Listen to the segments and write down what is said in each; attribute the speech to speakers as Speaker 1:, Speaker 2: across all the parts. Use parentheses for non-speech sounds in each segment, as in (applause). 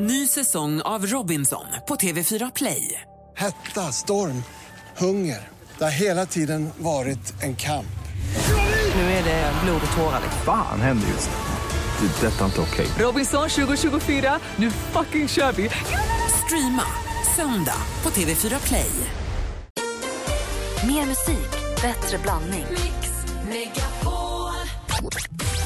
Speaker 1: Ny säsong av Robinson på TV4 Play.
Speaker 2: Hetta, storm, hunger. Det har hela tiden varit en kamp.
Speaker 1: Nu är det Eh, blod och tårar. liksom.
Speaker 3: Fan händer just nu. Det. är Detta är inte okej.
Speaker 1: Robinson 2024, nu fucking kör vi! Streama söndag på TV4 Play.
Speaker 4: Mer musik, bättre blandning.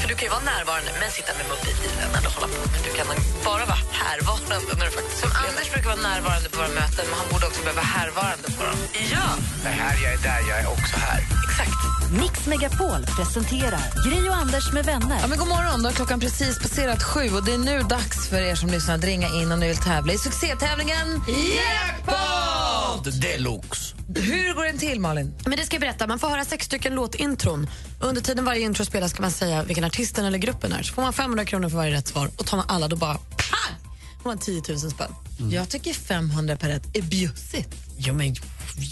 Speaker 5: För du kan ju vara närvarande men sitta med mobilen eller hålla på. Men du kan bara vara härvarande när du faktiskt upplever. Anders brukar vara närvarande på våra möten men han borde också behöva vara härvarande på dem. Ja!
Speaker 6: Det här, jag är där, jag är också här.
Speaker 5: Exakt.
Speaker 4: Mix Megapol presenterar Gry och Anders med vänner.
Speaker 5: Ja, men god morgon, då har klockan precis passerat sju och det är nu dags för er som lyssnar att ringa in om ni vill tävla i succétävlingen Jackpot!
Speaker 6: Deluxe.
Speaker 5: Hur går den till, Malin?
Speaker 7: Men det ska jag berätta. Man får höra sex stycken låtintron. Under tiden varje intro spelas ska man säga vilken artisten eller gruppen är. Så får man 500 kronor för varje rätt svar. Och tar man alla då bara pang! får man 10 000 spänn.
Speaker 5: Mm. Jag tycker 500 per rätt är bjussigt.
Speaker 7: Jo, men,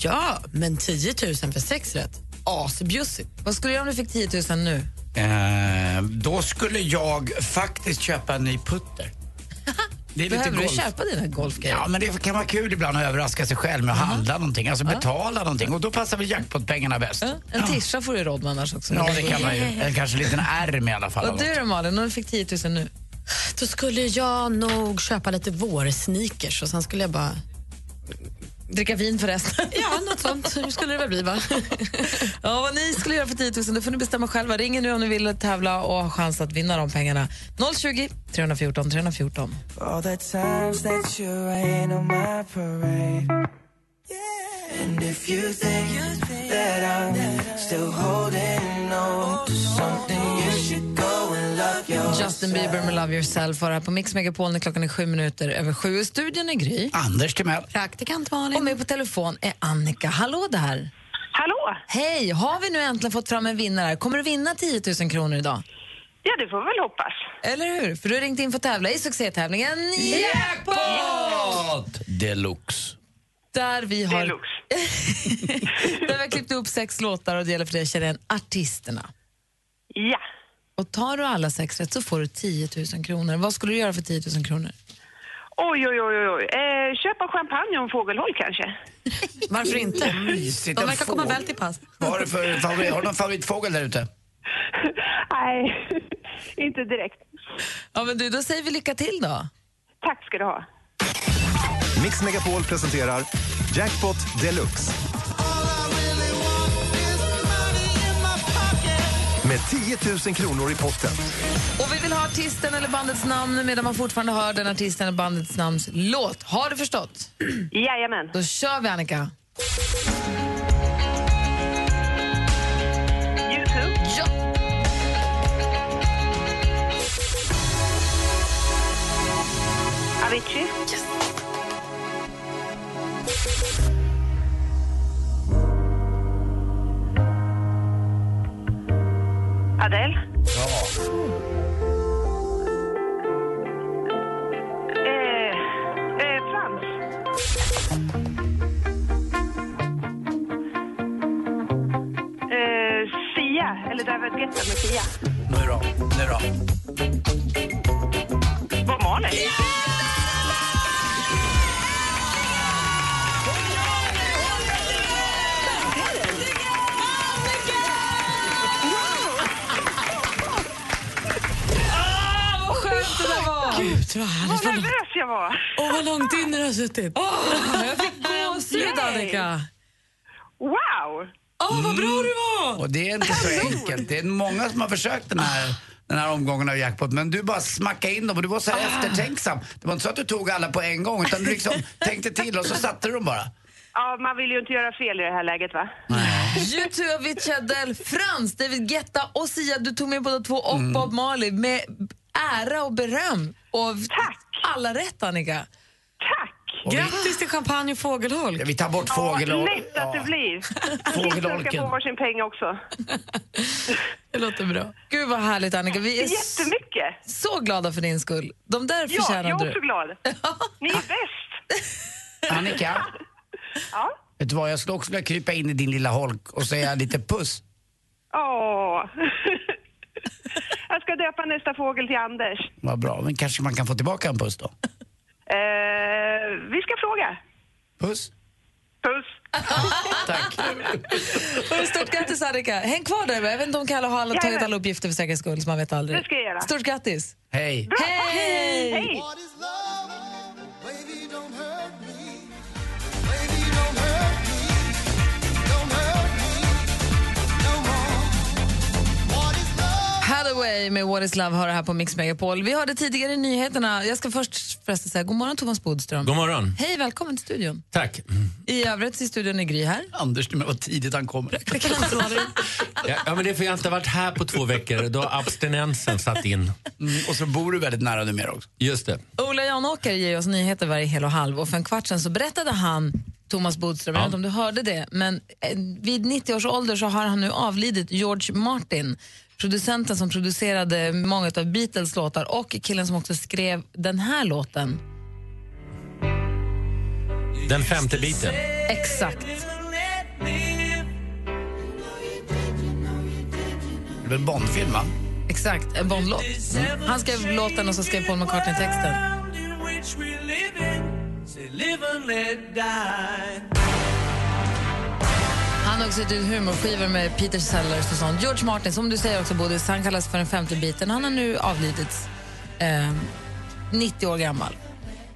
Speaker 7: ja, men 10 000 för sex rätt? Asbjussigt.
Speaker 5: Vad skulle du göra om du fick 10 000 nu?
Speaker 6: Eh, då skulle jag faktiskt köpa en ny
Speaker 5: (laughs)
Speaker 6: putter. Det är
Speaker 5: Behöver du köpa dina golfgrejer?
Speaker 6: Ja, men det kan vara kul ibland att överraska sig själv med att handla någonting, alltså betala någonting. Och då passar väl jackpot-pengarna bäst.
Speaker 5: Ja, En tischa får du råd med annars också.
Speaker 6: Ja, det
Speaker 5: (laughs)
Speaker 6: kan man ju. Eller kanske en liten ärm i alla fall.
Speaker 5: Och du då, Malin, om du fick 10 000 nu?
Speaker 7: Då skulle jag nog köpa lite vårsneakers och sen skulle jag bara...
Speaker 5: Dricka vin förresten. (laughs)
Speaker 7: Ja, något sånt Hur skulle det väl bli, (laughs) va?
Speaker 5: Ja, vad ni skulle göra för 10 000 det får ni bestämma själva. Ring nu om ni vill tävla och ha chans att vinna de pengarna. 020 314 314.
Speaker 8: All the times that you rain on my parade. And if you think that I'm still holding on to something, you should go and love yourself.
Speaker 5: Justin Bieber med Love Yourself var här på Mix Megapol när klockan är sju minuter över sju. I Studion är Gry
Speaker 6: Anders Timell.
Speaker 7: Praktikant
Speaker 5: och
Speaker 7: Malin.
Speaker 5: med på telefon är Annika. Hallå där!
Speaker 9: Hallå!
Speaker 5: Hej! Har vi nu äntligen fått fram en vinnare? här? Kommer du vinna 10 000 kronor idag?
Speaker 9: Ja, det får vi väl hoppas.
Speaker 5: Eller hur? För du har ringt in för att tävla i succétävlingen Jackpot!
Speaker 6: Deluxe.
Speaker 5: Där vi har,
Speaker 9: Deluxe.
Speaker 5: (laughs) där vi har klippt upp sex låtar och det gäller för dig att känna igen artisterna.
Speaker 9: Ja.
Speaker 5: Och tar du alla sex rätt så får du 10 000 kronor. Vad skulle du göra för 10 000 kronor?
Speaker 9: Oj, oj, oj, oj, oj. Eh, köpa champagne och en fågelholk kanske? (laughs)
Speaker 7: Varför inte?
Speaker 6: Mysigt.
Speaker 7: De
Speaker 6: en
Speaker 7: verkar komma
Speaker 6: fågel.
Speaker 7: väl till pass.
Speaker 6: Vad har du för favorit? Har du någon favoritfågel där ute?
Speaker 9: Nej, (laughs) inte direkt.
Speaker 5: Ja, men du, då säger vi lycka till då.
Speaker 9: Tack ska du ha.
Speaker 10: Mix Megapol presenterar Jackpot Deluxe. Med 10 000 kronor i potten.
Speaker 5: Och vi vill ha artisten eller bandets namn medan man fortfarande hör den artisten eller bandets namns låt. Har du förstått?
Speaker 9: Jajamän.
Speaker 5: Då kör vi, Annika.
Speaker 9: YouTube.
Speaker 5: Ja.
Speaker 9: Avicii. Adele. Eh, eh, Frans. Eh, Sia, eller David Guetta med Sia.
Speaker 6: Nu då, nu då.
Speaker 9: Bob Marley.
Speaker 5: Skönt det där var!
Speaker 7: Gud, vad härligt.
Speaker 9: Vad nervös jag var.
Speaker 7: Och vad långt in du har suttit. (laughs)
Speaker 5: Jag fick gåshud,
Speaker 9: Yay!
Speaker 5: Annika.
Speaker 9: Wow!
Speaker 7: Åh, vad bra du var!
Speaker 6: Och det är inte så
Speaker 9: Alltså,
Speaker 6: enkelt. Det är många som har försökt den här, den här omgången av jackpot, men du bara smackade in dem och du var så här
Speaker 9: Ah.
Speaker 6: eftertänksam. Det var inte så att du tog alla på en gång, utan du
Speaker 9: (laughs)
Speaker 6: liksom tänkte till och så satte du dem bara.
Speaker 9: Ja, man vill ju inte göra fel i det här läget, va?
Speaker 5: YouTube, Avicii, Adele, Frans, David Guetta och Sia. Du tog med båda två och
Speaker 7: Mm.
Speaker 5: Bob Marley med ära och beröm. Och
Speaker 9: Tack.
Speaker 5: alla rätt, Annika.
Speaker 9: Tack!
Speaker 6: Och vi,
Speaker 7: Grattis till champagne och fågelholk.
Speaker 6: ja, vi tar bort fågel
Speaker 9: Vad
Speaker 6: och...
Speaker 9: lätt att det blir. Gissa ska
Speaker 6: Fågelholken.
Speaker 9: få varsin peng också.
Speaker 5: Det låter bra. Gud, vad härligt, Annika. Vi är s-
Speaker 9: Jättemycket!
Speaker 5: så glada för din skull. De där
Speaker 9: Ja, jag
Speaker 5: förtjänade
Speaker 9: är
Speaker 5: du. (laughs)
Speaker 9: också glad. Ni är bäst!
Speaker 6: Annika,
Speaker 9: Ja.
Speaker 6: vet du vad? Jag skulle också vilja krypa in i din lilla holk och säga lite puss.
Speaker 9: Åh. (laughs) Jag ska döpa nästa fågel till Anders.
Speaker 6: Vad bra, men kanske man kan få tillbaka en puss då?
Speaker 9: Eh, vi ska fråga.
Speaker 6: Puss.
Speaker 9: Puss.
Speaker 6: Tack.
Speaker 5: Hörru, Stort grattis Annika. Häng kvar där. Jag vet inte om Kalle har alla, tagit
Speaker 9: Jajamän.
Speaker 5: alla uppgifter för säkerhets skull, så man vet aldrig.
Speaker 9: Det ska jag göra.
Speaker 5: Stort grattis.
Speaker 6: Hej.
Speaker 9: Bra.
Speaker 5: Hej!
Speaker 9: Hej!
Speaker 5: Hathaway med What is love har det här på Mix Megapol. Vi hörde tidigare i nyheterna, jag ska först förresten säga god morgon Thomas Bodström.
Speaker 11: God morgon.
Speaker 5: Hej, välkommen till studion.
Speaker 11: Tack.
Speaker 5: I övrigt i studion är Gry här.
Speaker 6: Anders, det var tidigt han kommer.
Speaker 11: Ja, ja, men det är för jag har inte varit här på två veckor. Då har abstinensen satt in.
Speaker 6: Mm, och så bor du väldigt nära numera också.
Speaker 11: Just det.
Speaker 5: Ola Janåker ger oss nyheter varje hel och halv och för en kvart sedan så berättade han, Thomas Bodström, jag vet inte om du hörde det, men eh, vid 90 års ålder så har han nu avlidit George Martin, producenten som producerade många av Beatles låtar och killen som också skrev den här låten.
Speaker 11: Den femte biten.
Speaker 5: Exakt.
Speaker 6: Det blev en Bondfilm, va?
Speaker 5: Exakt, en Bondlåt. Han skrev låten och så skrev Paul McCartney texten. Han har också gett ut humorskivor med Peter Sellers och sånt. George Martin, som du säger också Bodis, han kallas för den femte biten. Han har nu avlidits, eh, 90 år gammal.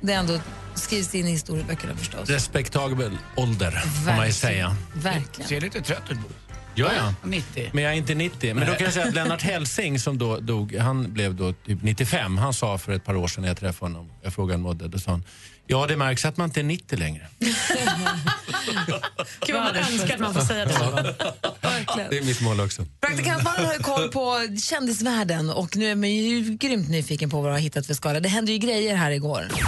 Speaker 5: Det är ändå skrivs in i historieböckerna förstås.
Speaker 11: Respektabel ålder, får man ju
Speaker 5: Verkligen.
Speaker 11: säga.
Speaker 5: Verkligen.
Speaker 6: Ser lite trött ut, Boris.
Speaker 11: Ja, ja.
Speaker 6: 90.
Speaker 11: Men jag är inte 90. Men då kan jag säga att Lennart Hellsing som då dog, han blev då typ 95. Han sa för ett par år sedan när jag träffade honom, jag frågade honom vad det, då sa han, ja det märks att man inte är 90 längre.
Speaker 7: Gud, vad man önskar att man får säga det.
Speaker 5: Verkligen.
Speaker 11: Det är mitt mål också.
Speaker 5: Praktikantmannen har ju koll på kändisvärlden och nu är man ju grymt nyfiken på vad du har hittat för skala. Det hände ju grejer här igår.
Speaker 7: Ja,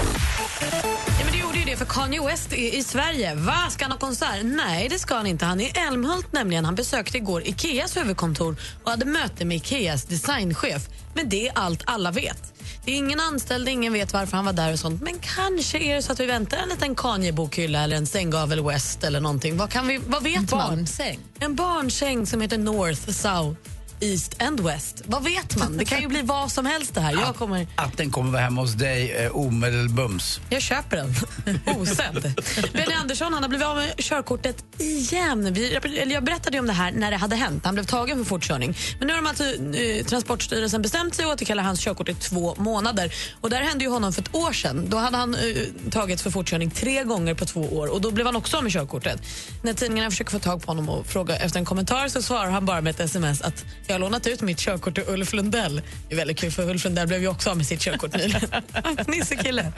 Speaker 7: men det gjorde ju det för Kanye West är i Sverige. Va? Ska han ha konsert? Nej, det ska han inte. Han är i Älmhult nämligen. Han besökte igår Ikeas huvudkontor och hade möte med Ikeas designchef. Men det är allt alla vet. Det är ingen anställd, ingen vet varför han var där och sånt. Men kanske är det så att vi väntar en liten Kanye-bokhylla eller en sänggavel West eller någonting. Vad, kan vi, vad vet man?
Speaker 5: Barnsäng.
Speaker 7: En barnsäng som heter North, South, East and West. Vad vet man? Det kan ju bli vad som helst det här. Jag, kommer,
Speaker 6: Att den kommer vara hemma hos dig eh, omedelbums.
Speaker 7: jag köper den. (laughs) Osedd. Benny Andersson han har blivit av med körkortet igen. Vi, eller jag berättade ju om det här när det hade hänt. Han blev tagen för fortkörning. Men nu har de alltså, eh, Transportstyrelsen bestämt sig att återkalla hans körkort i två månader. Och Det här hände ju honom för ett år sedan. Då hade han eh, tagits för fortkörning tre gånger på två år och då blev han också av med körkortet. När tidningarna försöker få tag på honom och fråga efter en kommentar så svarar han bara med ett sms att jag har lånat ut mitt körkort till Ulf Lundell. Det är väldigt kul för Ulf Lundell blev ju också av med sitt körkort nyligen. Nissekille.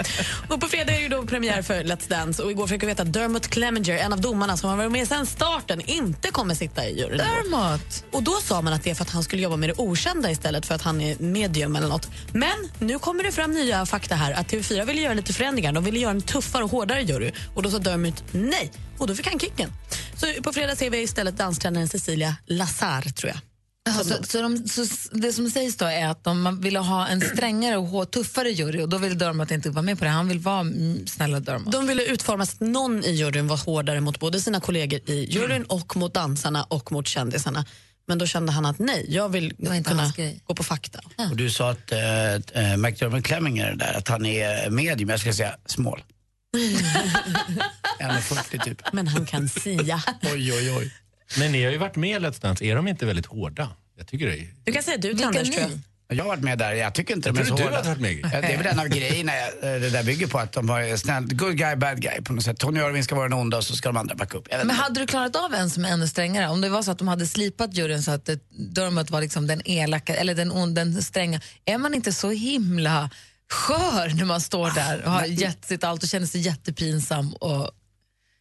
Speaker 7: Och på fredag är det ju då premiär för Let's Dance och igår fick vi veta att Dermot Clemenger, en av domarna som har varit med sedan starten, inte kommer sitta i juryn.
Speaker 5: Dermot.
Speaker 7: Och då sa man att det är för att han skulle jobba med det okända istället för att han är medium eller något. Men nu kommer det fram nya fakta här att TV4 ville göra lite förändringar. De ville göra en tuffare och hårdare jury och då sa Dermot nej och då fick han kicken. Så på fredag ser vi istället danstränaren Cecilia Lazar tror jag.
Speaker 5: Ja,
Speaker 7: Alltså-
Speaker 5: så, alltså, så, de, så s- det som sägs då är att de man ville ha en strängare och hår- tuffare jury och då vill Dermot inte vara med på det. Han vill vara mm, snälla Dermot.
Speaker 7: De ville utforma så att någon i juryn var hårdare mot både sina kollegor i juryn
Speaker 5: Mm.
Speaker 7: och mot dansarna och mot kändisarna. Men då kände han att nej, jag vill
Speaker 5: var inte
Speaker 7: kunna
Speaker 5: hans grej.
Speaker 7: gå på fakta.
Speaker 6: Och du sa att eh, eh, McDermott Clemminger där, att han är medium, jag ska säga smal. 1,40 typ.
Speaker 7: Men han kan
Speaker 5: (laughs)
Speaker 7: sia.
Speaker 6: Oj, oj, oj.
Speaker 11: Men ni har ju varit med i Let's Dance, är de inte väldigt hårda? Jag tycker det är...
Speaker 7: Du kan säga du till
Speaker 5: Vilka
Speaker 7: Anders tror jag.
Speaker 5: ni?
Speaker 6: Jag har varit med där, jag tycker inte de är
Speaker 11: Jag
Speaker 6: så
Speaker 11: trodde du
Speaker 6: hårda.
Speaker 11: hade varit med.
Speaker 6: Ja, Det är väl en av grejerna eh, det där bygger på, att de har snällt, good guy, bad guy på något sätt. Tony Irving ska vara den onda och så ska de andra backa upp. Jag vet
Speaker 5: Men
Speaker 6: inte.
Speaker 5: hade du klarat av en som är ännu strängare? Om det var så att de hade slipat juryn så att eh, Dermot var liksom den elaka, eller den, on- den stränga. Är man inte så himla skör när man står där och har gett sitt allt och känner sig jättepinsam? Och,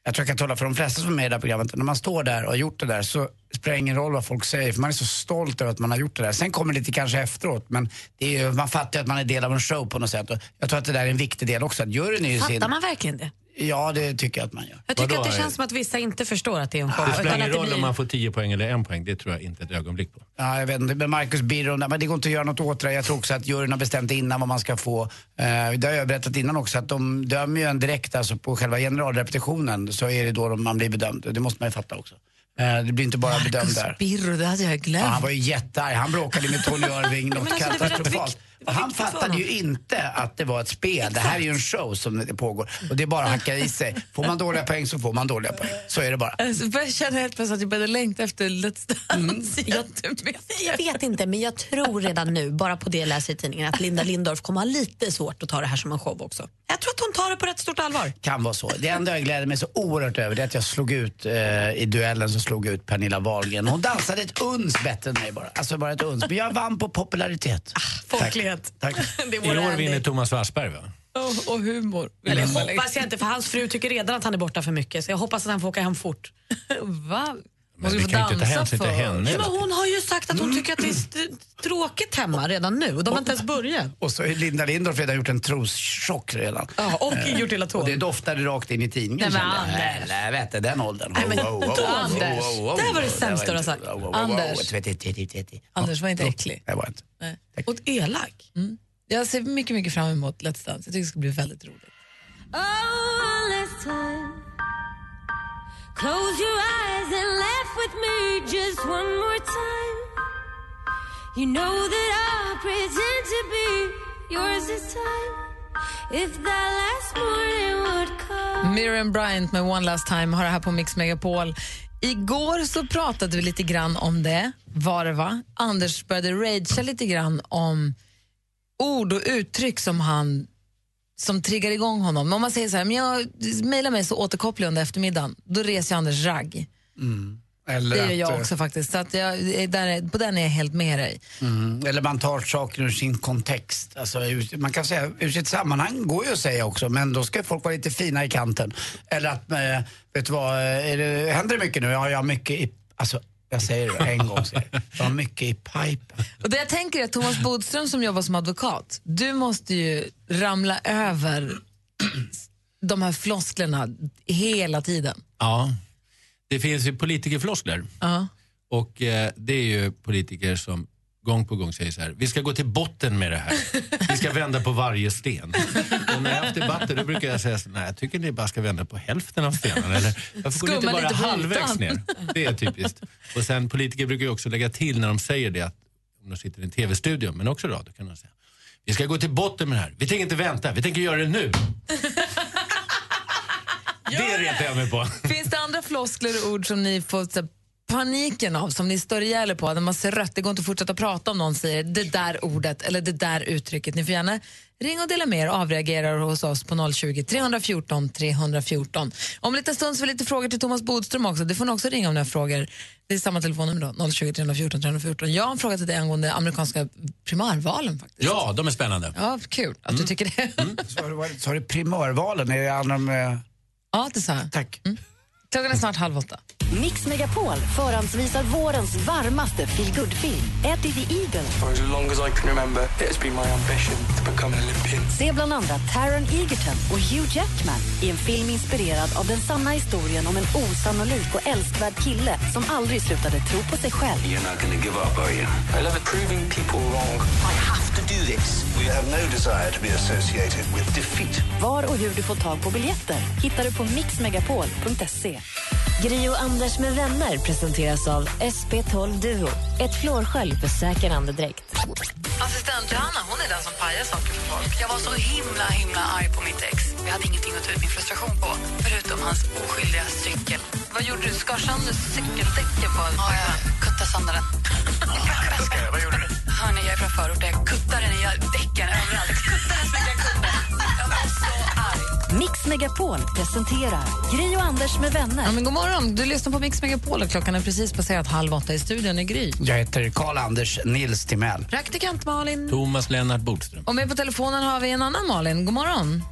Speaker 6: Jag tror jag kan tala för de flesta som är med i det här programmet. När man står där och har gjort det där så spelar det ingen roll vad folk säger för man är så stolt över att man har gjort det där. Sen kommer det lite kanske efteråt men det är ju, man fattar ju att man är del av en show på något sätt. Och jag tror att det där är en viktig del också. Att juryn är ju sin...
Speaker 7: Fattar man verkligen det?
Speaker 6: Ja, det tycker jag att man gör.
Speaker 7: Jag tycker
Speaker 11: Vadå?
Speaker 7: att det känns som att vissa inte förstår att det är en show.
Speaker 11: Det spelar
Speaker 7: utan
Speaker 11: ingen
Speaker 7: att det
Speaker 11: roll
Speaker 7: blir-
Speaker 11: om man får 10 poäng eller en poäng, det tror jag inte ett ögonblick på.
Speaker 6: Ja, jag vet inte, men Marcus Birro, nej, men det går inte att göra något åt det. Jag tror också att juryn har bestämt innan vad man ska få. Eh, det har jag berättat innan också, att de dömer ju en direkt alltså, på själva generalrepetitionen. Så är det då de- man blir bedömd. Det måste man ju fatta också. Eh, det blir inte bara bedömd där.
Speaker 5: Birro, det hade jag
Speaker 6: Ja, han
Speaker 5: glömt.
Speaker 6: var ju jättearg. Han bråkade med Tony Irving
Speaker 7: (laughs)
Speaker 6: något
Speaker 7: Men alltså, det var rätt
Speaker 6: katastrofalt. Han fattade ju inte att det var ett spel. Det här är ju en show som det pågår. Och det är bara att hacka i sig. Får man dåliga poäng så får man dåliga poäng. Så är det bara.
Speaker 5: Alltså, jag känner helt plötsligt att jag började längta efter Let's Dance. Jag,
Speaker 7: Mm. jag vet inte, men jag tror redan nu, bara på det jag läser i tidningen, att Linda Lindorff kommer ha lite svårt att ta det här som en show också. Jag tror att hon tar det på rätt stort allvar.
Speaker 6: Kan vara så. Det enda jag gläder mig så oerhört över det är att jag slog ut, eh, i duellen så slog jag ut Pernilla Wahlgren. Hon dansade ett uns bättre än mig bara. Alltså bara ett uns. Men jag vann på popularitet.
Speaker 7: Ah. Folklighet.
Speaker 6: Tack.
Speaker 7: (laughs) Det
Speaker 11: I
Speaker 7: vore
Speaker 11: år
Speaker 7: Andy.
Speaker 11: vinner Thomas Wassberg va?
Speaker 5: Oh, Och, och humor.
Speaker 7: Eller hoppas jag inte, för hans fru tycker redan att han är borta för mycket. Så jag hoppas att han får åka hem fort.
Speaker 5: (laughs) Va?
Speaker 11: Men vi kan ju inte ta hänsyn till henne.
Speaker 7: Men hon har ju sagt att hon tycker att det är st- tråkigt hemma redan nu. Och de har inte ens börjat.
Speaker 6: Och så har ju Linda Lindorff redan gjort en troschock redan.
Speaker 7: Ja, och
Speaker 6: Eh,
Speaker 7: gjort hela tån.
Speaker 6: Och det doftade rakt in i tidningen.
Speaker 7: Nej, men
Speaker 6: kände jag.
Speaker 7: Anders.
Speaker 6: Helvete, den åldern.
Speaker 7: Nej, men Anders. Det här var det sämsta du har sagt.
Speaker 5: Anders. Anders var inte äcklig.
Speaker 6: Det var inte.
Speaker 7: Och elak.
Speaker 5: Mm. Jag ser mycket, mycket fram emot Let's Dance. Jag tycker det ska bli väldigt roligt.
Speaker 12: Oh, Close your eyes and laugh with me just one more time. You know that I'll pretend to be yours this time. If that last morning would come.
Speaker 5: Miriam Bryant med One Last Time har det här på Mix Megapol. Igår så pratade vi lite grann om det, var det va? Anders började ragea lite grann om ord och uttryck som han som triggar igång honom. Om man säger så här, men jag mejlar mig så återkopplar jag under eftermiddagen, då reser ju Anders ragg.
Speaker 6: Mm. Eller
Speaker 5: det gör
Speaker 6: att,
Speaker 5: jag
Speaker 6: eh,
Speaker 5: också faktiskt. Så att jag, är där, på den är jag helt med dig.
Speaker 6: Mm. Eller man tar saker ur sin kontext. Alltså, ur- man kan säga ur sitt sammanhang går ju att säga också, men då ska folk vara lite fina i kanten. Eller att, eh, vet du vad, eh, är det, händer det mycket nu? Ja, jag har mycket i, alltså jag säger det en gång, säger jag. jag har mycket i pipen.
Speaker 5: Och det jag tänker är att Thomas Bodström som jobbar som advokat, du måste ju ramla över (clears throat) de här flosklerna hela tiden.
Speaker 11: Ja. Det finns ju politikerfloskler.
Speaker 5: Ja.
Speaker 11: Och eh, det är ju politiker som gång på gång säger så här, vi ska gå till botten med det här. Vi ska vända på varje sten. Och när jag har haft debatter då brukar jag säga så nej jag tycker ni bara ska vända på hälften av stenarna. Eller, varför går ni inte
Speaker 5: Skumma
Speaker 11: bara
Speaker 5: lite på
Speaker 11: halvvägs
Speaker 5: ytan."
Speaker 11: ner? Det är typiskt. Och sen politiker brukar ju också lägga till när de säger det, att, om de sitter i en tv-studio, men också radio, kan de säga, vi ska gå till botten med det här. Vi tänker inte vänta, vi tänker göra
Speaker 5: (laughs)
Speaker 11: det nu. det retar jag mig på.
Speaker 5: Finns det andra floskler och ord som ni får så, här, paniken av, som ni stör ihjäl er på, när man ser rött, det går inte att fortsätta prata om någon säger det där ordet eller det där uttrycket. Ni får gärna ringa och dela med er och avreagera hos oss på 020 314 314. Om en liten stund så får vi lite frågor till Thomas Bodström också. Det får ni också ringa om ni har frågor. Det är samma telefonnummer då, 020 314 314. Jag har en fråga till dig angående amerikanska primärvalen. faktiskt. Mm.
Speaker 11: Ja, de är spännande.
Speaker 5: Ja, kul att du tycker det.
Speaker 6: Sa du- vad- Sa du primörvalen? Är det alla de... eh,
Speaker 5: Ja, det sa jag.
Speaker 6: Tack.
Speaker 5: Klockan är snart halv åtta.
Speaker 4: Mix Megapol förhandsvisar vårens varmaste feelgood-film, Eddie the Eagle.
Speaker 13: For as long as I can remember, it has been my ambition to become an Olympian.
Speaker 4: Se bland andra Taron Egerton och Hugh Jackman i en film inspirerad av den sanna historien om en osannolik och älskvärd kille som aldrig slutade tro på sig själv.
Speaker 14: You're not going to give up, are you?
Speaker 13: I love proving people wrong.
Speaker 14: I have to do this. We have no desire to be associated with defeat.
Speaker 4: Var och hur du får tag på biljetter hittar du på mixmegapol.se.
Speaker 12: Gri och Anders med vänner presenteras av SP12 Duo. Ett flårskölj för säker andedräkt.
Speaker 15: Assistent Johanna hon är den som pajar saker för folk. Jag var så himla himla arg på mitt ex. Jag hade ingenting att ta ut min frustration på, förutom hans oskyldiga cykel. Vad gjorde du? Skar sönder cykeldäcken på Ja, jag kuttade sönder den. (laughs) Vad gjorde du? Hörni, jag är från förorten. Jag kuttade den i däcken överallt. Kuttade så mycket jag kunde. Jag var så arg.
Speaker 4: Mix Megapol presenterar Gri och Anders med vänner.
Speaker 5: Ja, men god morgon, du lyssnar på Mix Megapol och klockan är precis passerat halv åtta i studion i Gry.
Speaker 6: Jag heter Karl-Anders Nils Timell.
Speaker 5: Praktikant Malin.
Speaker 11: Thomas Lennart Bodström.
Speaker 5: Och med på telefonen har vi en annan Malin. God morgon.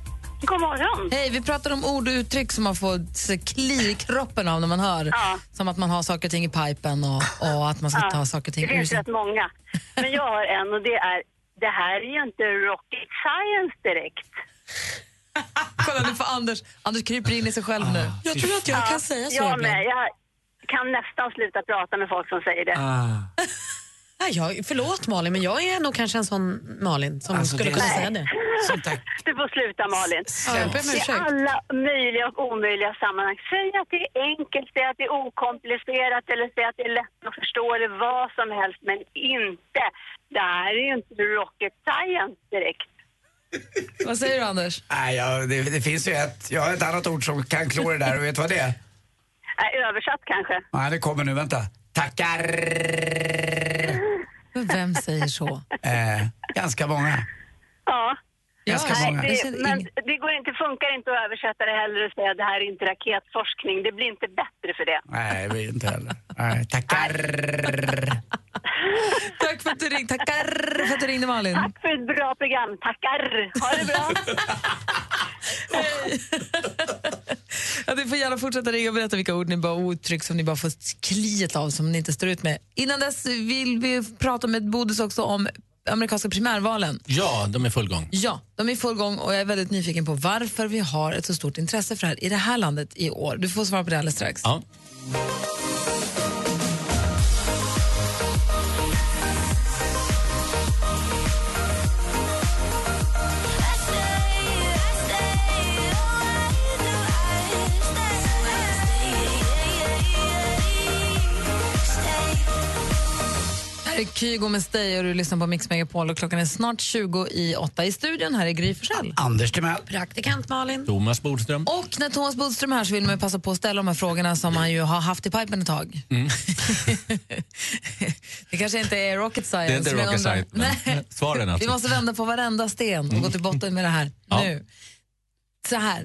Speaker 9: God morgon.
Speaker 5: Hej, vi pratar om ord och uttryck som man får se kli i kroppen av när man hör. Som att man har saker och ting i pipen och, och att man ska ta saker och ting
Speaker 16: Det
Speaker 5: ur
Speaker 16: finns
Speaker 5: sin...
Speaker 16: rätt många. Men jag har en och det är, det här är ju inte rocket science direkt.
Speaker 5: Kolla nu för Anders. Anders kryper in i sig själv nu.
Speaker 7: Ah,
Speaker 5: Jag tror att jag kan säga så
Speaker 16: ja,
Speaker 5: ibland.
Speaker 16: Men, jag kan nästan sluta prata med folk som säger det.
Speaker 7: Nej, jag, förlåt Malin, men jag är nog kanske en sån Malin som
Speaker 6: Alltså,
Speaker 7: skulle
Speaker 6: det är
Speaker 7: kunna
Speaker 6: så-
Speaker 7: säga det.
Speaker 16: Du får sluta Malin.
Speaker 15: jag ber om
Speaker 16: I
Speaker 15: ursäkt.
Speaker 16: alla möjliga och omöjliga sammanhang. Säg att det är enkelt, säg att det är okomplicerat eller säg att det är lätt att förstå eller vad som helst. Men inte, det här är ju inte rocket science direkt.
Speaker 5: Vad säger du Anders?
Speaker 6: Nej, ja, det, det finns ju ett, jag har ett annat ord som kan klå det där och vet du vad det är?
Speaker 16: Äh, översatt kanske.
Speaker 6: Nej, det kommer nu, vänta. Tackar!
Speaker 5: Vem säger så?
Speaker 6: Eh, ganska många.
Speaker 16: Ja.
Speaker 6: Ganska många.
Speaker 16: Nej,
Speaker 6: Jag
Speaker 16: det,
Speaker 6: känner
Speaker 16: men det går inte, funkar inte att översätta det heller och säga att det här är inte raketforskning. Det blir inte bättre för det.
Speaker 6: Nej, vi inte heller. Nej, tackar!
Speaker 5: Tack för att du ringde. Tackar för att du ringde Malin. Tack
Speaker 16: för ett bra program. Tackar. Ha det bra.
Speaker 5: Ja, ni får gärna fortsätta ringa och berätta vilka ord ni bara, och uttryck som ni bara får kliet av som ni inte står ut med. Innan dess vill vi prata med Bodis också om amerikanska primärvalen.
Speaker 11: Ja, de är full gång.
Speaker 5: Ja, de är i full gång och jag är väldigt nyfiken på varför vi har ett så stort intresse för det här i det här landet i år. Du får svara på det alldeles strax.
Speaker 11: Ja.
Speaker 5: Här är Kygo med Stay och du lyssnar på Mix Megapol och klockan är snart 20 i åtta i studion. Här är Gry Forssell.
Speaker 6: Anders Timell.
Speaker 5: Praktikant Malin.
Speaker 11: Thomas Bodström.
Speaker 5: Och när Thomas Bodström är här så vill man ju passa på att ställa de här frågorna som han ju har haft i pipen ett tag.
Speaker 11: Mm.
Speaker 5: (laughs) Det kanske inte är rocket
Speaker 11: Det
Speaker 5: science.
Speaker 11: är inte
Speaker 5: men jag
Speaker 11: rocket
Speaker 5: undrar-
Speaker 11: science. men Svaren
Speaker 5: Vi
Speaker 11: alltså.
Speaker 5: måste vända på varenda sten och gå till botten med det här
Speaker 11: Ja.
Speaker 5: nu. Så här,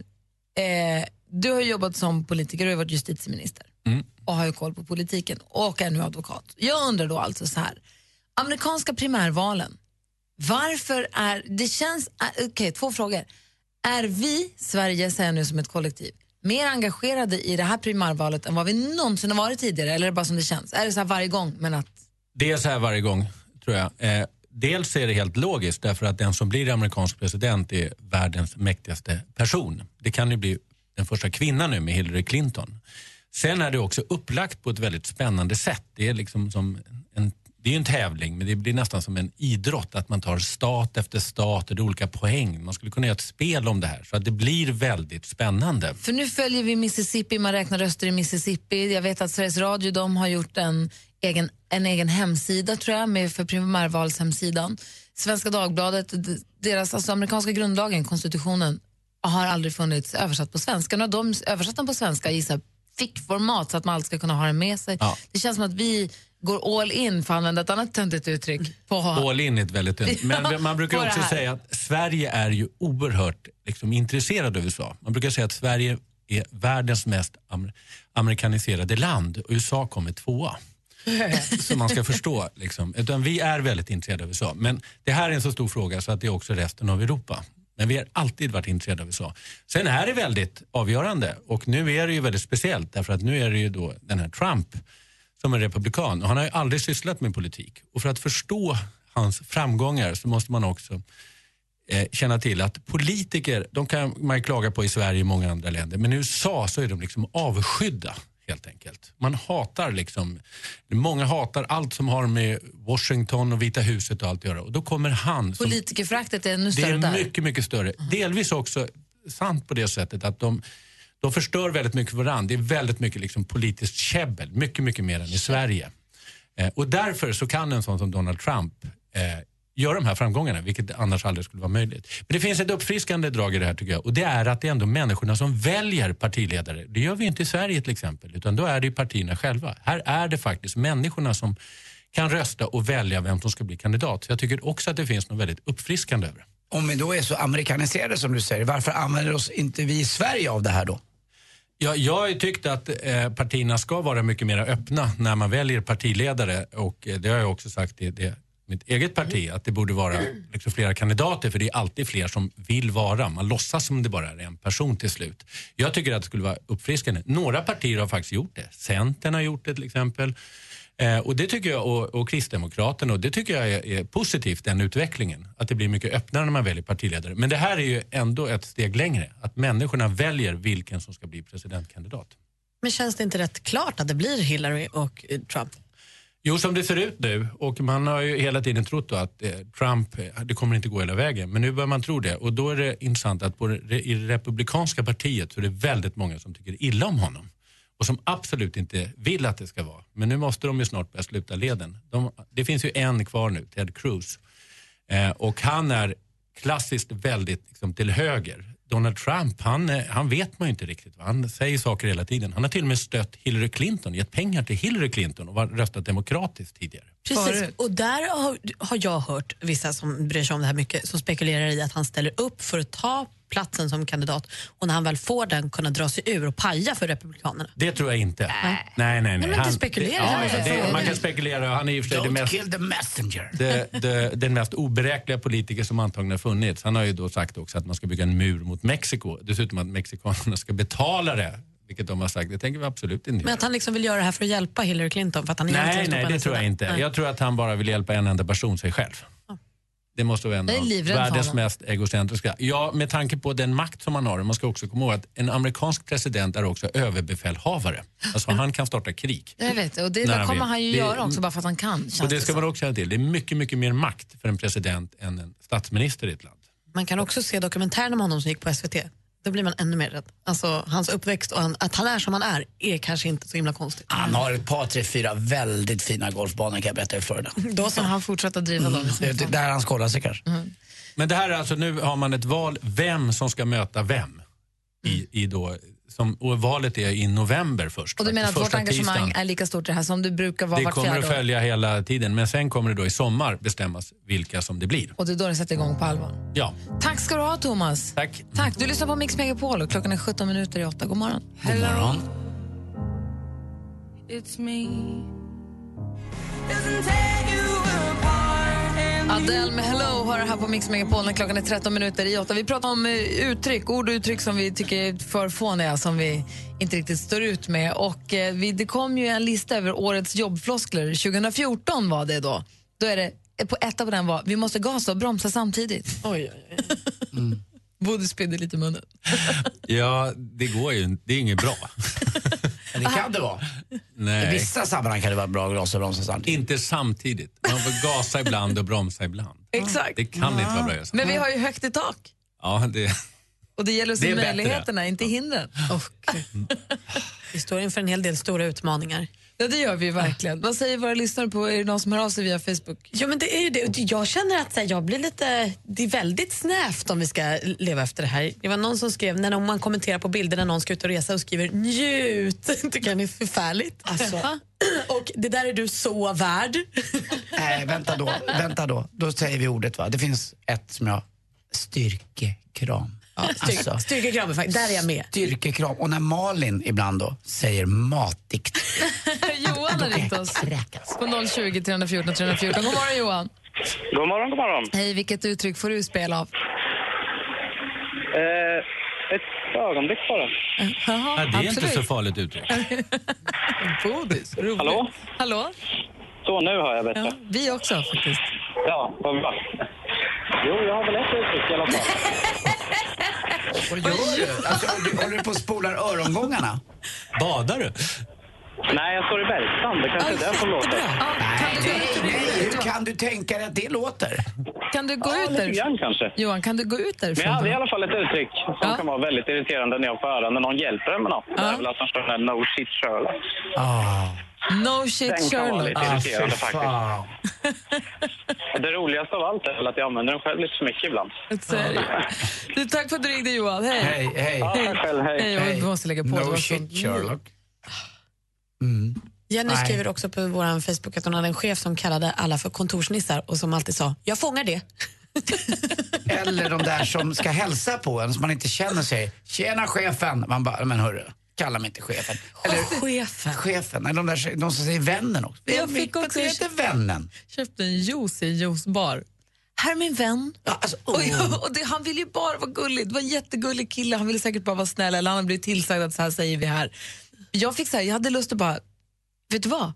Speaker 5: eh, du har jobbat som politiker och har varit justitieminister
Speaker 11: Mm.
Speaker 5: och har ju koll på politiken och är nu advokat. Jag undrar då alltså så här, amerikanska primärvalen, varför är, det känns, eh, okej två frågor. Är vi, Sverige säger jag nu som ett kollektiv, mer engagerade i det här primärvalet än vad vi någonsin har varit tidigare eller är det bara som det känns? Är det så här varje gång men att
Speaker 11: Det är så här varje gång, tror jag. Eh, dels är det helt logiskt därför att den som blir amerikansk president är världens mäktigaste person. Det kan ju bli den första kvinnan nu med Hillary Clinton. Sen är det också upplagt på ett väldigt spännande sätt. Det är liksom som en det är ju en tävling, men det blir nästan som en idrott att man tar stat efter stat och det är olika poäng. Man skulle kunna göra ett spel om det här så att det blir väldigt spännande.
Speaker 5: För nu följer vi Mississippi, man räknar röster i Mississippi. Jag vet att Sveriges Radio de har gjort en egen, en egen hemsida tror jag, med för primärvalshemsidan. Svenska Dagbladet, d- deras alltså, amerikanska grundlagen, konstitutionen, har aldrig funnits översatt på svenska. Nu har de översatt den på svenska i så här fickformat så att man alltid ska kunna ha den med sig.
Speaker 11: Ja.
Speaker 5: Det känns som att vi går all in, för att använda ett annat töntigt uttryck, på
Speaker 11: All in är ett väldigt tunt.
Speaker 5: (laughs) Ja,
Speaker 11: Men man
Speaker 5: på
Speaker 11: brukar
Speaker 5: det
Speaker 11: också
Speaker 5: här.
Speaker 11: säga att Sverige är ju oerhört liksom, intresserad av USA. Man brukar säga att Sverige är världens mest amer- amerikaniserade land och USA kommer tvåa. (laughs) Så man ska förstå. Liksom. Utan vi är väldigt intresserade av USA. Men det här är en så stor fråga så att det är också resten av Europa. Men vi har alltid varit intresserade av USA. Sen är det väldigt avgörande och nu är det ju väldigt speciellt därför att nu är det ju då den här Trump som är republikan och han har ju aldrig sysslat med politik. Och för att förstå hans framgångar så måste man också eh, känna till att politiker, de kan man ju klaga på i Sverige och många andra länder, men i USA så är de liksom avskydda helt enkelt. Man hatar liksom, många hatar allt som har med Washington och Vita huset och allt att göra. Och då kommer han som
Speaker 5: Politikerföraktet är ännu
Speaker 11: det
Speaker 5: större
Speaker 11: är
Speaker 5: där. Mm.
Speaker 11: mycket, mycket större. Delvis också sant på det sättet att de, de förstör väldigt mycket för varandra. Det är väldigt mycket liksom politiskt käbbel, mycket, mycket mer än i Sverige. Eh, och därför så kan en sån som Donald Trump eh, göra de här framgångarna, vilket annars aldrig skulle vara möjligt. Men det finns ett uppfriskande drag i det här tycker jag och det är att det är ändå människorna som väljer partiledare. Det gör vi inte i Sverige till exempel, utan då är det ju partierna själva. Här är det faktiskt människorna som kan rösta och välja vem som ska bli kandidat. Så jag tycker också att det finns något väldigt uppfriskande över det.
Speaker 6: Om vi då är så amerikaniserade som du säger, varför använder oss inte vi i Sverige av det här då?
Speaker 11: Ja, jag har ju tyckt att eh, partierna ska vara mycket mer öppna när man väljer partiledare och eh, det har jag också sagt i det, mitt eget parti att det borde vara liksom, flera kandidater för det är alltid fler som vill vara. Man låtsas som det bara är en person till slut. Jag tycker att det skulle vara uppfriskande. Några partier har faktiskt gjort det. Centern har gjort det till exempel. Eh, och det tycker jag, och, och Kristdemokraterna, och det tycker jag är, är positivt, den utvecklingen. Att det blir mycket öppnare när man väljer partiledare. Men det här är ju ändå ett steg längre. Att människorna väljer vilken som ska bli presidentkandidat.
Speaker 7: Men känns det inte rätt klart att det blir Hillary och eh, Trump?
Speaker 11: Jo, som det ser ut nu. Och man har ju hela tiden trott då att eh, Trump, eh, det kommer inte gå hela vägen. Men nu börjar man tro det. Och då är det intressant att på det, i det republikanska partiet så är det väldigt många som tycker illa om honom. Och som absolut inte vill att det ska vara. Men nu måste de ju snart börja sluta leden. De, det finns ju en kvar nu, Ted Cruz. Eh, och han är klassiskt väldigt liksom, till höger. Donald Trump, han, eh, han vet man ju inte riktigt. Va? Han säger saker hela tiden. Han har till och med stött Hillary Clinton, gett pengar till Hillary Clinton och var, röstat demokratiskt tidigare.
Speaker 7: Precis, och där har, har jag hört vissa som bryr sig om det här mycket som spekulerar i att han ställer upp för att ta platsen som kandidat och när han väl får den kunna dra sig ur och paja för Republikanerna.
Speaker 11: Det tror jag inte. Nej, nej, nej.
Speaker 7: Nej, men inte spekulera.
Speaker 11: det- Ja, ja, det,
Speaker 7: Fråga.
Speaker 11: man kan spekulera. Han är i och för sig det
Speaker 6: Don't
Speaker 11: mest...
Speaker 6: kill the messenger.
Speaker 11: det, det, den mest oberäkneliga politiker som antagligen har funnits. Han har ju då sagt också att man ska bygga en mur mot Mexiko. Dessutom att mexikanerna ska betala det, vilket de har sagt. Det tänker vi absolut inte
Speaker 7: Men att han liksom vill göra det här för att hjälpa Hillary Clinton för att han
Speaker 11: Nej,
Speaker 7: egentligen står
Speaker 11: nej,
Speaker 7: på
Speaker 11: det
Speaker 7: hennes
Speaker 11: tror jag
Speaker 7: sida.
Speaker 11: inte.
Speaker 7: Nej.
Speaker 11: Jag tror att han bara vill hjälpa en enda person, sig själv. Det måste vara en
Speaker 7: Jag är
Speaker 11: av
Speaker 7: livrädd för
Speaker 11: världens
Speaker 7: honom.
Speaker 11: mest egocentriska. Ja, med tanke på den makt som han har. Man ska också komma ihåg att en amerikansk president är också överbefälhavare. Alltså han kan starta krig.
Speaker 5: Jag vet, och det
Speaker 11: När
Speaker 5: där
Speaker 11: han
Speaker 5: kommer
Speaker 11: vill.
Speaker 5: han ju
Speaker 11: Det-
Speaker 5: göra också bara för att han kan.
Speaker 11: Och
Speaker 5: Känns
Speaker 11: det ska man också känna till. Det är mycket, mycket mer makt för en president än en statsminister i ett land.
Speaker 7: Man kan också se dokumentären om honom som gick på SVT. Då blir man ännu mer rädd. Alltså, hans uppväxt och han, att han är som han är är kanske inte så himla konstigt.
Speaker 6: Han har ett par, tre, fyra väldigt fina golfbanor kan jag berätta i
Speaker 11: (laughs)
Speaker 6: Florida.
Speaker 5: Då ska han fortsätta driva dem.
Speaker 11: Mm.
Speaker 6: Det, det, där han skålar sig kanske.
Speaker 11: Men det här är alltså, nu har man ett val, vem som ska möta vem. I, i då, som, och valet är i november först.
Speaker 5: Och du menar att
Speaker 11: Första
Speaker 5: vårt engagemang
Speaker 11: tisdagen.
Speaker 5: är lika stort i det här som det brukar vara
Speaker 11: Det
Speaker 5: vart
Speaker 11: kommer
Speaker 5: fjärde
Speaker 11: att
Speaker 5: år?
Speaker 11: följa hela tiden, men sen kommer det då i sommar bestämmas vilka som det blir.
Speaker 5: Och det är då det sätter igång på allvar.
Speaker 11: Ja.
Speaker 5: Tack ska du ha, Thomas.
Speaker 11: Tack.
Speaker 5: Tack. Du lyssnar på Mix Megapol och klockan är 17 minuter i 8. God morgon.
Speaker 11: God morgon.
Speaker 8: It's me.
Speaker 5: Adele med Hello har det här på Mix Megapol när klockan är 13 minuter i 8. Vi pratar om eh, uttryck, ord och uttryck som vi tycker är för fåniga, som vi inte riktigt står ut med. Och eh, vi, det kom ju en lista över årets jobbfloskler. 2014 var det då. Då är det, eh, på etta på den var, vi måste gasa och bromsa samtidigt.
Speaker 7: Oj,
Speaker 5: Bodil spydde lite i munnen.
Speaker 11: Ja, det går ju inte. Det är inget bra.
Speaker 6: Men det kan det vara.
Speaker 11: Nej.
Speaker 6: I vissa sammanhang kan det vara bra att gasa och bromsa samtidigt.
Speaker 11: Inte samtidigt. Man får gasa ibland och bromsa ibland.
Speaker 5: Exakt.
Speaker 11: Det kan inte vara bra just.
Speaker 5: (laughs) Men vi har ju högt i tak.
Speaker 11: Ja, det...
Speaker 5: Och det gäller att
Speaker 11: Det
Speaker 5: se
Speaker 11: är bättre.
Speaker 5: möjligheterna, inte hindren.
Speaker 7: Vi står inför en hel del stora utmaningar.
Speaker 5: Ja, det gör vi verkligen. Vad säger våra lyssnare på, är det någon som hör av sig via Facebook?
Speaker 7: Ja, men det är ju det. Jag känner att så här, jag blir lite... Det är väldigt snävt om vi ska leva efter det här. Det var någon som skrev, när någon- man kommenterar på bilder när någon ska ut och resa och skriver njut. (laughs) Tycker jag det är förfärligt.
Speaker 6: Alltså.
Speaker 7: och det där är du så värd.
Speaker 6: Nej, vänta då. Vänta då. Då säger vi ordet va. Det finns ett som jag... Styrkekram. alltså,
Speaker 7: (laughs) Styrke, styrkekram, faktiskt. där är jag med.
Speaker 6: Styrkekram. Och när Malin ibland då säger matdikt.
Speaker 5: (laughs) Johan har ringt oss på 020 314 314. God morgon Johan.
Speaker 17: God morgon, god morgon.
Speaker 5: Hej, vilket uttryck får du spela av?
Speaker 17: Eh, ett ögonblick bara.
Speaker 11: Ja, det är inte så farligt uttryck.
Speaker 5: Bodis, roligt.
Speaker 17: Hallå?
Speaker 5: Hallå?
Speaker 17: Så, nu hör jag bättre.
Speaker 5: Ja, vi också faktiskt.
Speaker 17: Ja, vad bra. Jo, jag har väl ett uttryck i alla fall.
Speaker 6: Vad gör du? Alltså, håller du- håller du på och spolar örongångarna?
Speaker 11: Badar du?
Speaker 17: Nej, jag står i Bergsland. Det kanske är där som låter.
Speaker 6: Hur kan du tänka dig att det låter?
Speaker 5: Kan du gå ut
Speaker 17: lite grann
Speaker 5: därifrån?
Speaker 17: kanske.
Speaker 5: Johan, kan du gå ut
Speaker 17: Men
Speaker 5: därifrån?
Speaker 17: jag
Speaker 5: då?
Speaker 17: hade i alla fall ett uttryck som kan vara väldigt irriterande när jag får höra när någon hjälper en med något. Det är väl att de står där no shit Sherlock.
Speaker 6: Ah.
Speaker 5: No
Speaker 17: Den
Speaker 5: shit
Speaker 17: kan vara
Speaker 5: Sherlock.
Speaker 17: lite irriterande faktiskt. Det roligaste av allt är väl att jag använder den själv lite för mycket ibland.
Speaker 5: Så är det. Du, tack för att du ringde Johan. Hej.
Speaker 17: Hej, hej. Ja, tack själv, hej.
Speaker 5: hej. Vi måste lägga på. det var så-
Speaker 7: Jenny
Speaker 5: Nej.
Speaker 7: skriver också på vår Facebook att hon hade en chef som kallade alla för kontorsnissar och som alltid sa, jag fångar det.
Speaker 6: Eller de där som ska hälsa på en som man inte känner sig. Tjena chefen! Man bara, men hörru, kalla mig inte chefen. Eller,
Speaker 7: chefen?
Speaker 6: Chefen, eller de, där, de som säger vännen också.
Speaker 5: Jag fick också...
Speaker 6: Det heter vännen.
Speaker 5: köpte en juice i en juicebar. Här är min vän.
Speaker 6: alltså,
Speaker 5: och
Speaker 6: oh,
Speaker 5: jag, (laughs) och det, han ville ju bara vara gullig. Det var en jättegullig kille. Han ville säkert bara vara snäll. Eller han hade blivit tillsagd att så här säger vi här. Jag fick så här, jag hade lust att bara, vet du vad?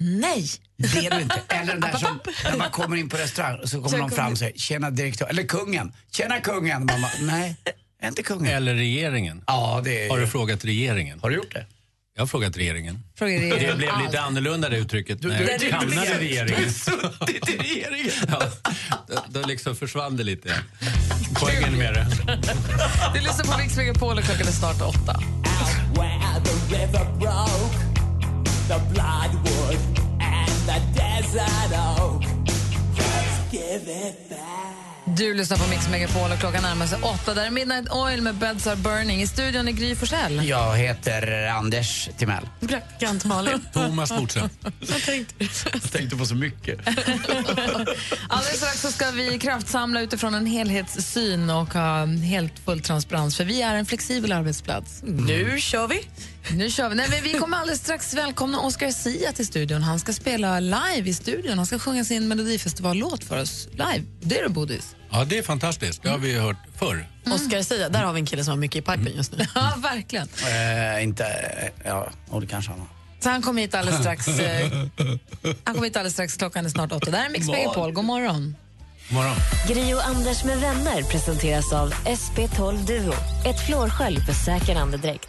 Speaker 5: Nej.
Speaker 6: Det är du inte. Eller den där som, när man kommer in på restaurang och så kommer
Speaker 5: Tja,
Speaker 6: någon fram och säger, tjena direktör, eller kungen. Tjena kungen! Man bara, nej, jag är inte kungen.
Speaker 11: Eller regeringen.
Speaker 6: Ja, det är...
Speaker 11: Har du frågat regeringen?
Speaker 6: Har du gjort det?
Speaker 11: Jag har frågat regeringen.
Speaker 5: Frågar regeringen
Speaker 11: Det blev
Speaker 5: allt.
Speaker 11: lite annorlunda det uttrycket när
Speaker 5: du-
Speaker 11: jag
Speaker 5: du-
Speaker 11: hamnade i
Speaker 5: du-
Speaker 11: regeringen.
Speaker 6: suttit i regeringen.
Speaker 11: Ja, då, då liksom försvann det lite. Poängen med det.
Speaker 5: Du lyssnar på Mix Megapol och klockan är snart åtta.
Speaker 18: where the river broke, the bloodwood and the desert oak. Just give it back.
Speaker 5: Du lyssnar på Mix Megapol och klockan närmar sig åtta. Där är Midnight Oil med Beds Are Burning. I studion är Gry Forssell.
Speaker 6: Jag heter Anders Timell.
Speaker 7: Praktikant Malin.
Speaker 6: Thomas Bodström.
Speaker 7: Jag tänkte
Speaker 6: Jag tänkte på så mycket.
Speaker 5: Alldeles strax så ska vi kraftsamla utifrån en helhetssyn och ha helt full transparens, för vi är en flexibel arbetsplats.
Speaker 7: Mm. Nu kör vi.
Speaker 5: Nu kör vi. Nej, men vi kommer alldeles strax välkomna Oscar Sia till studion. Han ska spela live i studion. Han ska sjunga sin Melodifestivallåt för oss live. Det är det, Bodis.
Speaker 7: Mm.
Speaker 11: Ja, det är fantastiskt. Det har vi hört förr.
Speaker 7: Oscar Sia, där har vi en kille som har mycket i pipen just nu.
Speaker 5: Ja, verkligen.
Speaker 6: Eh, inte... eh, Ja, och det kanske han har.
Speaker 5: Så han kommer hit alldeles strax. eh, han kommer hit alldeles strax. Klockan är snart åtta. Där är Mix Megapol. God morgon.
Speaker 11: Morgon.
Speaker 4: (laughs) Gri och Anders med vänner presenteras av SP12 Duo. Ett flårskölj för säker andedräkt.